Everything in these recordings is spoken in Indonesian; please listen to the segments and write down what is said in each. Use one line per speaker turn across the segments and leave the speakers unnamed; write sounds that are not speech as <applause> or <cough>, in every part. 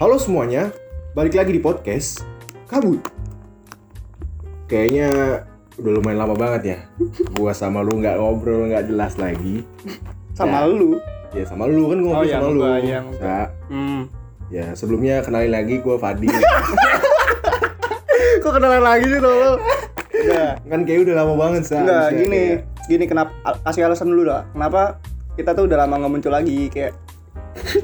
Halo semuanya, balik lagi di podcast Kabut. Kayaknya udah lumayan lama banget ya.
<laughs>
Gua sama lu nggak ngobrol nggak jelas lagi.
sama lu.
Ya sama lu kan gua
Oh,
ngobrol
iya,
sama lu.
gua yang-
Sa.
Hmm.
ya sebelumnya kenalin lagi gua Fadi.
<laughs> Kok kenalan lagi sih lo? lo? Udah.
kan kayaknya udah lama banget sa.
Enggak,
Harusnya
gini,
kayak-
gini kenapa al- kasih alasan dulu dah. Kenapa kita tuh udah lama nggak muncul lagi kayak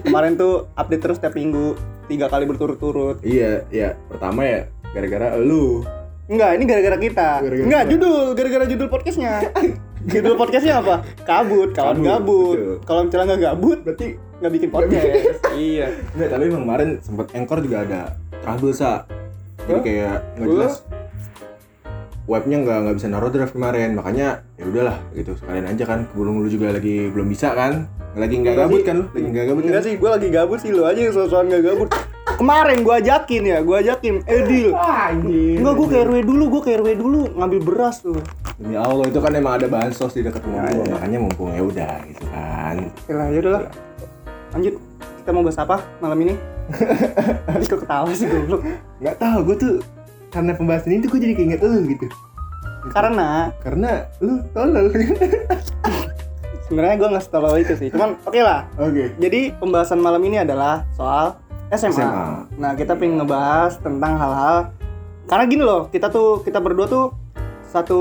kemarin tuh update terus tiap minggu tiga kali berturut-turut.
Iya, iya. Pertama ya gara-gara lu.
Enggak, ini gara-gara kita.
Gara-gara
Enggak,
kita.
judul, gara-gara judul <laughs> podcastnya. judul podcastnya apa? Kabut, kawan
Kabut,
gabut.
betul.
Kalau misalnya nggak gabut,
Berarti
nggak bikin podcast. <laughs> iya.
Enggak, tapi emang kemarin sempat engkor juga ada trouble sa. Jadi
Hah?
kayak nggak jelas. Webnya nggak nggak bisa naruh draft kemarin, makanya ya udahlah gitu. Sekalian aja kan, kebelum lu juga lagi belum bisa kan, lagi nggak
Enggak
gabut
sih.
kan, lu? lagi nggak gabut kan.
Enggak sih, gue lagi gabut sih lo aja yang sosokan nggak gabut. Kemarin gue ajakin ya, gue ajakin, eh deal,
Anjir.
Enggak, gue ke RW dulu, gue ke RW dulu ngambil beras tuh.
Demi Allah itu kan emang ada bahan sos di dekat rumah
Ya,
gua,
ya.
makanya mumpung ya udah gitu kan.
Yalah, ya udahlah. Lanjut, kita mau bahas apa malam ini? Ih, kok ketawa sih goblok.
Nggak tahu gue tuh karena pembahasan ini tuh gue jadi keinget lu gitu.
Karena
Karena lu tolol. Oke.
sebenarnya gue nggak setolol itu sih. Cuman oke lah. Jadi pembahasan malam ini adalah soal SMA.
SMA.
Nah, kita pengen ngebahas tentang hal-hal karena gini loh, kita tuh kita berdua tuh satu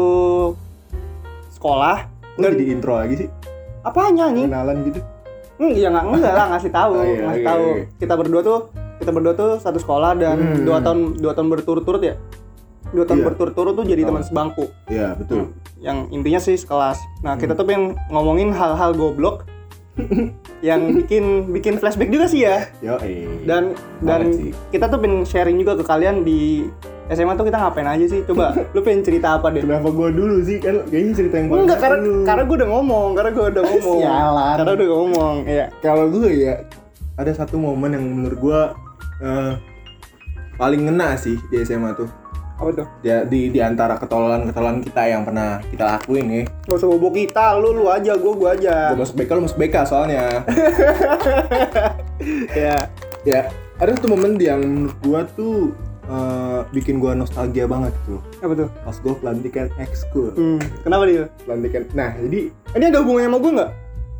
sekolah
Lu
dan
Oh, jadi intro lagi sih,
apanya nih?
kenalan gitu.
Hmm, ya nggak enggak lah ngasih tahu,
<laughs> Oh, iya,
ngasih
oke,
tahu.
oke.
Kita berdua tuh kita berdua tuh satu sekolah dan
Hmm.
dua tahun dua tahun berturut-turut ya. Dua tahun
Iya.
berturut-turut tuh jadi
Tahu.
teman sebangku.
Iya, betul.
Yang intinya sih sekelas. Nah,
Hmm.
kita tuh pengen ngomongin hal-hal
<laughs>
goblok yang bikin bikin flashback juga sih ya.
Yo, eh.
Dan dan
Banget sih.
kita tuh pengen sharing juga ke kalian di SMA tuh kita ngapain aja sih? Coba lu pengen cerita apa deh?
Kenapa gua dulu sih? Kan kayaknya cerita yang
Enggak, karena
dulu.
karena gue udah ngomong, karena gue udah ngomong.
<laughs> Sialan.
Karena udah ngomong, iya.
kalau gue ya ada satu momen yang menurut gua eh, paling ngena sih di SMA tuh.
Apa tuh?
Di di, di antara ketololan-ketololan kita yang pernah kita lakuin nih.
Gak usah bobo kita, lu lu aja, gua gua aja.
Gua masuk BK, lu masuk BK
<laughs>
soalnya.
ya.
ya, ada satu momen yang menurut gua tuh eh, bikin gua nostalgia banget tuh.
Apa tuh?
Pas gua pelantikan ekskul.
Hmm. Kenapa dia?
Pelantikan. Nah, jadi
Ini ada hubungannya sama gua nggak?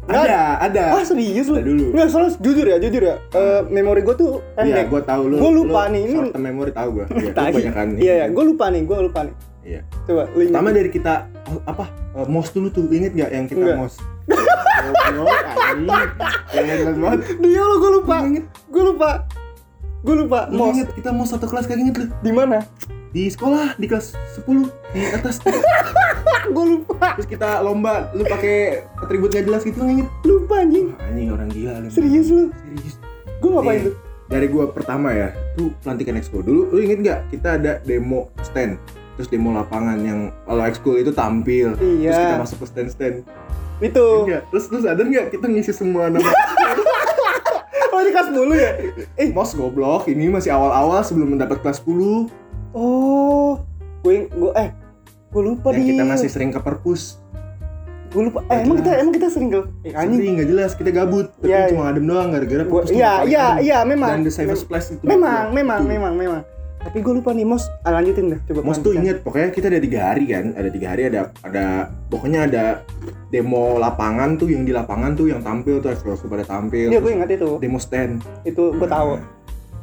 Nggak
ada, ada.
Ah serius lu?
Ada dulu.
Nggak, soalnya jujur ya, jujur ya. Eh, memori gua tuh
Iya,
Ah, pendek.
gua tahu lu.
Gua lupa
lu
nih, ini-
Short term memory tahu
<laughs>
gua. Iya, lu
Tai.
kebanyakan.
Iya, iya, gua lupa nih, gua lupa nih.
Iya.
Coba lu ingat.
Pertama dari kita oh, apa? eh, mos dulu tuh. Ingat nggak yang kita
Nggak.
mos? Goblok, anjing. Keren banget.
Dia lu gua lupa.
Gua inget.
Gua lupa. Gua lupa
Hmm. Lu
mos.
inget kita mos satu kelas kagak inget lu.
Di mana?
Di sekolah di kelas 10 di atas.
Ah, gua lupa.
Terus kita lomba lu pakai atribut nggak jelas gitu nggak inget.
Lupa anjing.
Wah, Anjing orang gila lu.
Serius lu?
Serius.
Gua ngapain
Nih,
tuh?
Dari gua pertama ya, tuh pelantikan expo dulu. Lu inget nggak kita ada demo stand? terus demo lapangan yang kalau ekskul itu tampil terus kita
Iya.
masuk ke stand stand Enggak.
Itu.
Iya, Terus terus sadar nggak kita ngisi semua
<laughs>
nama
Oh, ini kelas 10 ya? Eh,
mos goblok. Ini masih awal-awal sebelum mendapat kelas 10
Oh, gue gue eh gue lupa
yang
di.
kita masih sering ke perpus.
gue lupa. Eh, emang kita emang kita sering ke? Eh, anjing.
Anjing nggak jelas kita gabut. Tapi
Iya,
cuma adem doang gara-gara
Gua,
perpus.
iya
tempat
iya
adem.
iya
Dan
memang.
the cyberspace itu.
Memang memang
Itu.
memang memang. Tapi gue lupa nih Mos. Ah, lanjutin deh coba.
Mos tuh
lanjutin.
inget pokoknya kita ada tiga hari kan, ada tiga hari ada ada pokoknya ada demo lapangan tuh yang di lapangan tuh yang tampil tuh ekskul pada tampil.
Iya gue
Terus
ingat itu.
demo stand.
Itu gue tahu.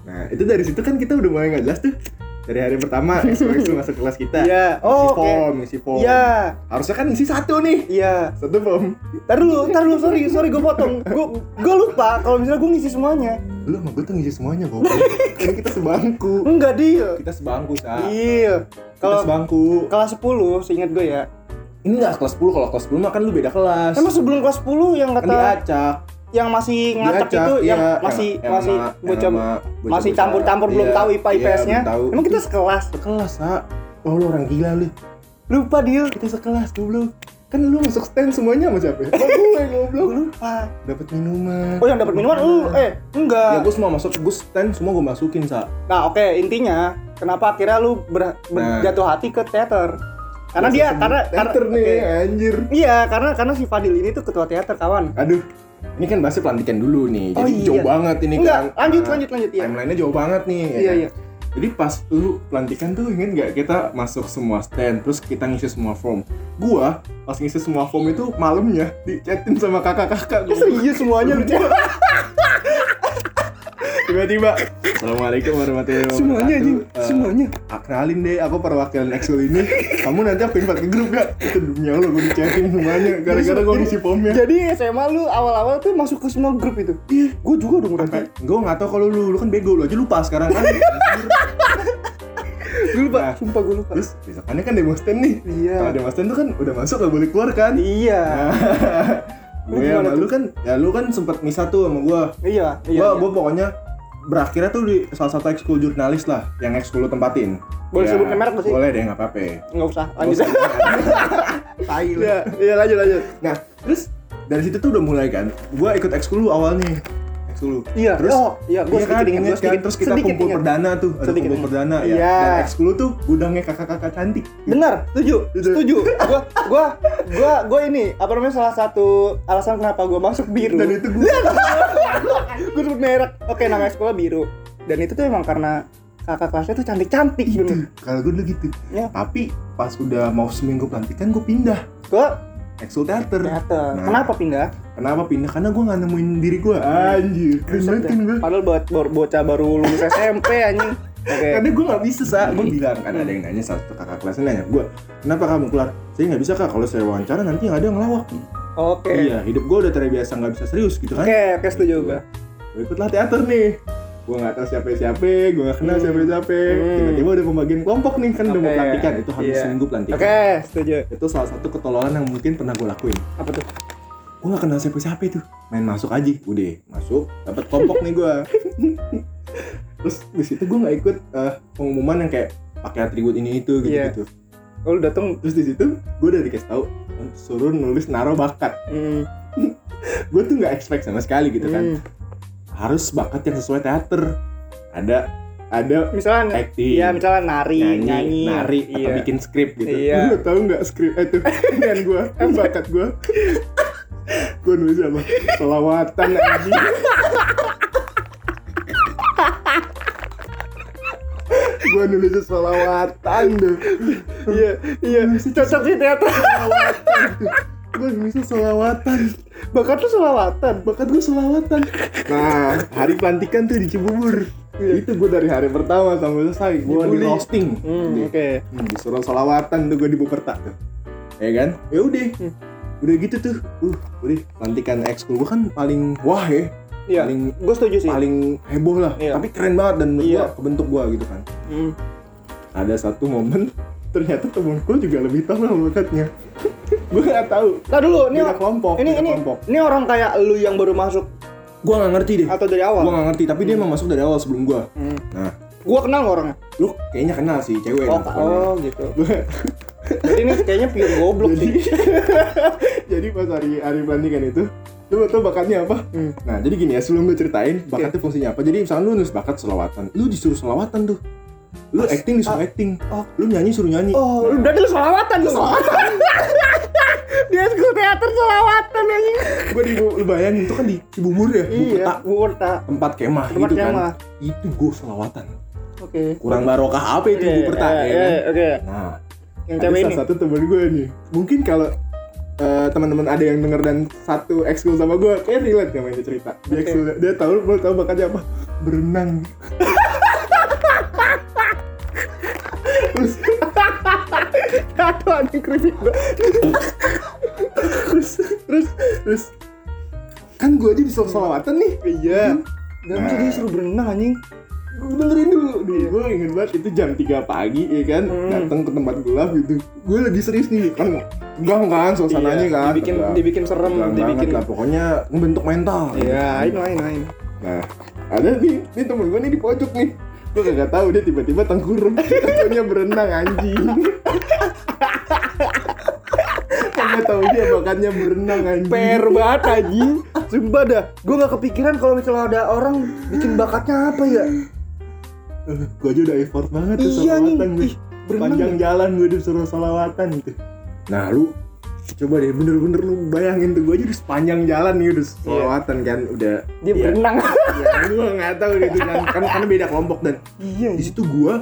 Nah itu dari situ kan kita udah mulai nggak jelas tuh dari hari pertama <laughs> ekskul masuk kelas kita.
Iya.
Ngisi
Oh, oke.
form, ngisi form.
Iya.
Harusnya kan isi satu nih.
Iya.
Satu form.
Tar dulu, tar dulu, sorry, sorry gue potong. Gue gue lupa kalau misalnya gue ngisi semuanya.
Lu sama gue tuh ngisi semuanya
<laughs>
kok. Kan kita sebangku.
Enggak, deal.
Kita sebangku, Sa.
Iya.
Kita
Kalau
sebangku.
kelas 10, seingat gue ya.
Ini enggak kelas 10, kalau kelas 10 mah kan lu beda kelas.
Emang sebelum kelas 10 yang
kan
kata
diacak.
yang masih ngacak
Diacak,
itu yang
iya.
masih
Yang-
masih
yang sama-
bocah
yang sama bocah-bocah.
masih campur-campur belum
Iya,
tahu IPA
iya,
IPS-nya.
belum tahu.
Emang kita sekelas.
Sekelas, Sa. Wah, lu orang gila lu.
Lupa dia.
Kita sekelas goblok. Kan lu masuk stand semuanya sama siapa? Sama gue goblok.
Gua lupa.
Dapat minuman.
Oh yang dapat minuman lu eh
Ya
enggak.
gue semua masuk, gue stand semua gue masukin, Sa.
Nah, oke intinya kenapa akhirnya lu ber,
Nah.
ber- jatuh hati ke teater? Karena
Gua
dia
sebut
karena
teater
karena-
nih, ya?
oke.
anjir.
Iya, karena karena si Fadil ini tuh ketua teater kawan.
Aduh, Ini kan bahasnya pelantikan dulu nih.
Oh
Jadi
iya.
jauh banget ini
Enggak,
kan.
lanjut,
Nah,
lanjut, lanjut, iya.
Timelinenya jauh banget nih. ya
Iya,
kan?
iya.
Jadi pas lu pelantikan tuh ingin nggak kita masuk semua stand terus kita ngisi semua form. Gua pas ngisi semua form itu malamnya dicatin sama kakak-kakak gua.
<laughs> Serius semuanya lu cek.
Tiba-tiba Assalamualaikum warahmatullahi wabarakatuh.
<laughs> Semuanya anjing,
Eh,
semuanya.
"Ah, kenalin deh aku perwakilan Exul ini. Kamu nanti aku invite ke grup gak? Itu dunia lu gua dicatin semuanya gara-gara gua ngisi ya. formnya.
Jadi SMA lu awal-awal tuh masuk ke semua grup itu. Iya. Gue juga dong berarti.
Gue nggak tahu kalau lu, lu kan bego, lu aja lupa sekarang
<laughs>
kan.
Gue lupa,
Nah.
sumpah gue lupa.
Terus besokannya kan demo stand nih.
Iya.
Kalau demo stand tuh kan udah masuk gak boleh keluar kan. <laughs>
Iya. Lu
gue
gimana
sama lu kan, ya lu kan sempet misah tuh sama gue.
Iya,
Gue
iya. iya.
gue pokoknya berakhirnya tuh di salah satu ekskul jurnalis lah, yang ekskul lu tempatin. Ya.
Boleh sebut merek nggak sih?
Boleh deh, nggak apa-apa.
Nggak usah, lanjut.
Tai lu.
<laughs> Iya, iya lanjut, lanjut.
Nah, terus dari situ tuh udah mulai kan. Gue ikut ekskul lu awal nih. Ekskul lu.
Iya,
terus
oh, iya, gua sedikit ingat,
ingat
gua sedikit-
kan? terus kita
sedikit
kumpul
ingat.
perdana tuh, ada
Sedikit
kumpul
ingat.
perdana ya.
Iya.
Dan ekskul lu tuh gudangnya kakak-kakak cantik.
Benar, setuju, setuju. Gua, gua, gua, gua ini apa namanya salah satu alasan kenapa gua masuk biru. Iya,
Dan itu gue
gue sebut merek. Oke, nama sekolah biru. Dan itu tuh emang karena kakak kelasnya tuh cantik-cantik gitu.
kalau gue dulu gitu.
Ya.
Tapi pas udah mau seminggu pelantikan gue pindah
Gue
ekskul teater.
teater.
Nah.
Kenapa ya? pindah?
Kenapa pindah? Karena gue gak nemuin diri gue.
Iya.
Anjir, keren banget
ya.
kan gue.
Padahal buat bo- bocah baru lulus SMP anjing. Oke.
Karena gue gak bisa, Sa. Gue
Iya.
bilang, kan ada yang nanya satu kakak kelasnya nanya, gue, kenapa kamu keluar? Saya gak bisa, Kak. Kalau saya wawancara nanti yang ada ngelawak.
Oke.
Iya, hidup gue udah terbiasa gak bisa serius gitu kan.
Oke, oke setuju
Gitu.
gue.
Gua ikutlah teater nih. Gue gak tau siapa-siapa, gue gak kenal
Hmm.
siapa-siapa.
Hmm.
Tiba-tiba udah pembagian kelompok nih, kan udah mau
Oke.
pelantikan. Itu habis
Iya.
seminggu pelantikan.
Oke, setuju.
Itu salah satu ketololan yang mungkin pernah gue lakuin.
Apa tuh?
gue gak kenal siapa-siapa itu main masuk aja udah masuk dapat kelompok nih
<laughs>
gue terus di situ gue nggak ikut eh, pengumuman yang kayak pakai atribut ini itu gitu gitu
Oh, lu dateng
terus di situ gue udah dikasih tahu suruh nulis naro bakat
hmm,
gue tuh nggak expect sama sekali gitu kan
hmm.
harus bakat yang sesuai teater ada ada
Misalnya
acting
Iya, misalnya nari,
nyanyi,
nyanyi,
nari
iya.
atau bikin skrip gitu.
Iya.
Lu tahu nggak skrip eh, itu? Dengan gue, bakat gue. gue nulis apa? Selawatan anjing. gue nulis selawatan tuh.
Iya, iya. Cocok sih teater.
Selawatan tuh. Gue nulis selawatan.
Bakat lu selawatan.
Bakat gue selawatan. Nah, hari pelantikan tuh di Cibubur. Itu gue dari hari pertama sampai selesai. Gue di
Iya. Dibully.
roasting.
<laughs> Hmm,
Di-
oke.
Hmm, disuruh solawatan tuh gue di Buperta tuh. Ya kan? Ya udah.
Hmm.
Udah gitu tuh. Uh, udah pelantikan ekskul gue kan paling wah ya.
Iya.
Paling
Gue setuju sih.
paling heboh lah.
Iya.
Tapi keren banget dan menurut
Iya.
gua kebentuk gue gitu kan.
Hmm.
Ada satu momen <laughs> ternyata temen gue juga lebih tahu sama
<laughs>
bakatnya. gue gak tahu.
Nah dulu, ini
Beda kelompok,
ini
beda
ini,
kelompok.
ini orang kayak lu yang baru masuk
Gue gak ngerti deh.
atau dari
Gue
awal?
gak ngerti. Tapi dia emang masuk dari awal sebelum gue.
Hmm.
Nah,
Gua kenal nggak orangnya?
lu kayaknya kenal sih cewek.
Oh,
nah, pokoknya.
oh gitu.
Gua-
Jadi ini kayaknya pure goblok
jadi
sih.
<laughs> Iya. jadi pas hari hari pelantikan itu lu tau bakatnya apa
Hmm.
nah jadi gini ya sebelum gue ceritain bakatnya fungsinya apa jadi misalkan lu nulis bakat selawatan lu disuruh selawatan tuh lu acting disuruh acting
oh.
lu nyanyi suruh nyanyi
Oh, lu berarti lu selawatan lu <laughs> selawatan. Dia school teater selawatan anjing.
gue Nah, di lu bayangin itu kan di Cibubur ya Buperta,
Iya, gua tak.
tempat kemah
Tempat
gitu kan
kemah.
itu gue selawatan
Oke.
kurang barokah apa itu
Oke,
Buperta
eh,
ya kan
eh, Oke. <laughs>
nah
Yang
ada
cewek ini.
salah satu temen gue nih mungkin kalau eh, teman-teman ada yang denger dan satu ekskul sama gue kayak relate sama ini cerita dia
Oke.
ekskul dia tahu mau tahu bakatnya apa berenang terus
Satu anjing keripik gua.
terus terus terus kan gue aja disuruh selawatan nih
Iya. Dan
Nah.
masa dia suruh berenang anjing.
gue dengerin dulu dulu gue inget banget itu jam 3 pagi ya kan
Iya. Hmm.
datang ke tempat gelap gitu gue lagi serius nih kan gang kan suasananya
Iya,
kan
Dibikin
Tegang.
dibikin serem,
Tegang
dibikin.
banget lah pokoknya ngebentuk mental
Iya, ayo ayo ayo.
Nah, ada nih, nih temen gue nih di pojok nih. Gue kagak tahu dia tiba-tiba <laughs> tengkurap. Taunya berenang anjing. <laughs> Kagak tahu dia bakatnya berenang anjing.
PR banget aji Sumpah dah Gue gak kepikiran kalau misalnya ada orang bikin bakatnya apa ya
Gue Eh, aja udah effort banget tuh
Iya,
salawatan
nih.
gue.
Ih, berenang ya?
Panjang jalan gue disuruh salawatan gitu. Nah, lu coba deh bener-bener lu bayangin tuh gue aja udah sepanjang jalan nih udah selawatan kan udah
Iya. Dia
Iya.
berenang.
ya gue nggak tahu gitu kan kan karena beda kelompok dan
Iya.
di situ gue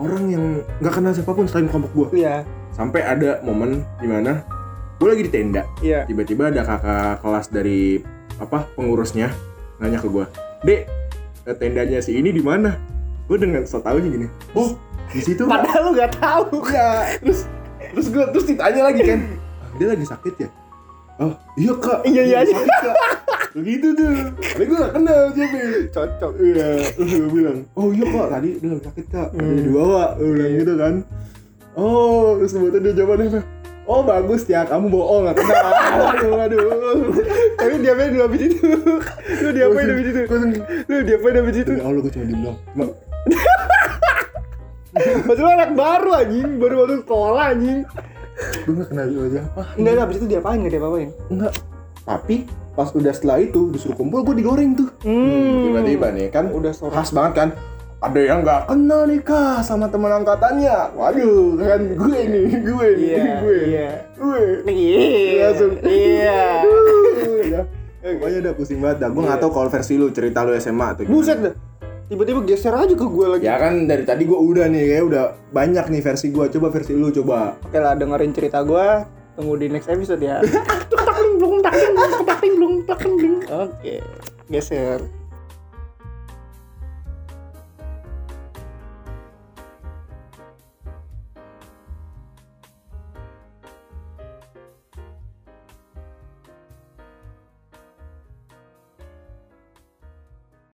orang yang nggak kenal siapapun selain kelompok gue
Iya.
sampai ada momen dimana gue lagi di tenda
Iya.
tiba-tiba ada kakak kelas dari apa pengurusnya nanya ke gue dek eh, tendanya si ini di mana gue dengan so taunya gini oh di situ Kak."
Padahal lu gak tahu.
Iya, terus terus gue terus ditanya lagi kan "Ah, dia lagi sakit ya oh iya kak
Iya, iya,
lagi sakit, Kak." begitu tuh tapi gue gak kenal siapa
Cocok.
iya terus gue bilang oh iya kak tadi dia lagi sakit kak ada
Hmm.
di bawah gue bilang gitu kan oh terus tiba-tiba dia jawabannya apa? oh bagus ya kamu bohong gak kenal aduh aduh
Tapi dia main dulu abis itu. <laughs> Lu diapain abis itu? Lu diapain abis itu?
Demi "Ya Allah gue cuma dibilang "Ma,
Maksud lu anak baru anjing, baru baru sekolah anjing.
Gue gak kenal lu aja apa
Enggak, enggak, abis itu diapain gak diapain?
Enggak Tapi pas udah setelah itu disuruh kumpul gue digoreng tuh
Hmm.
Tiba-tiba nih kan
Udah sore.
khas banget kan ada yang nggak kenal nih kah sama teman angkatannya waduh kan gue nih gue nih
Iya.
gue
Iya.
gue
Iya.
Langsung.
Iya.
Aduh, ya. Eh, pokoknya udah pusing banget dah gue nggak
Iya.
tahu kalau versi lu cerita lu SMA atau gimana.
Buset dah. Tiba-tiba geser aja ke gue lagi.
ya kan dari tadi gue udah nih kayak udah banyak nih versi gue coba versi lu coba
Oke lah dengerin cerita gue tunggu di next episode ya. Takling blung takling blung takling blung takling blung. Oke, geser.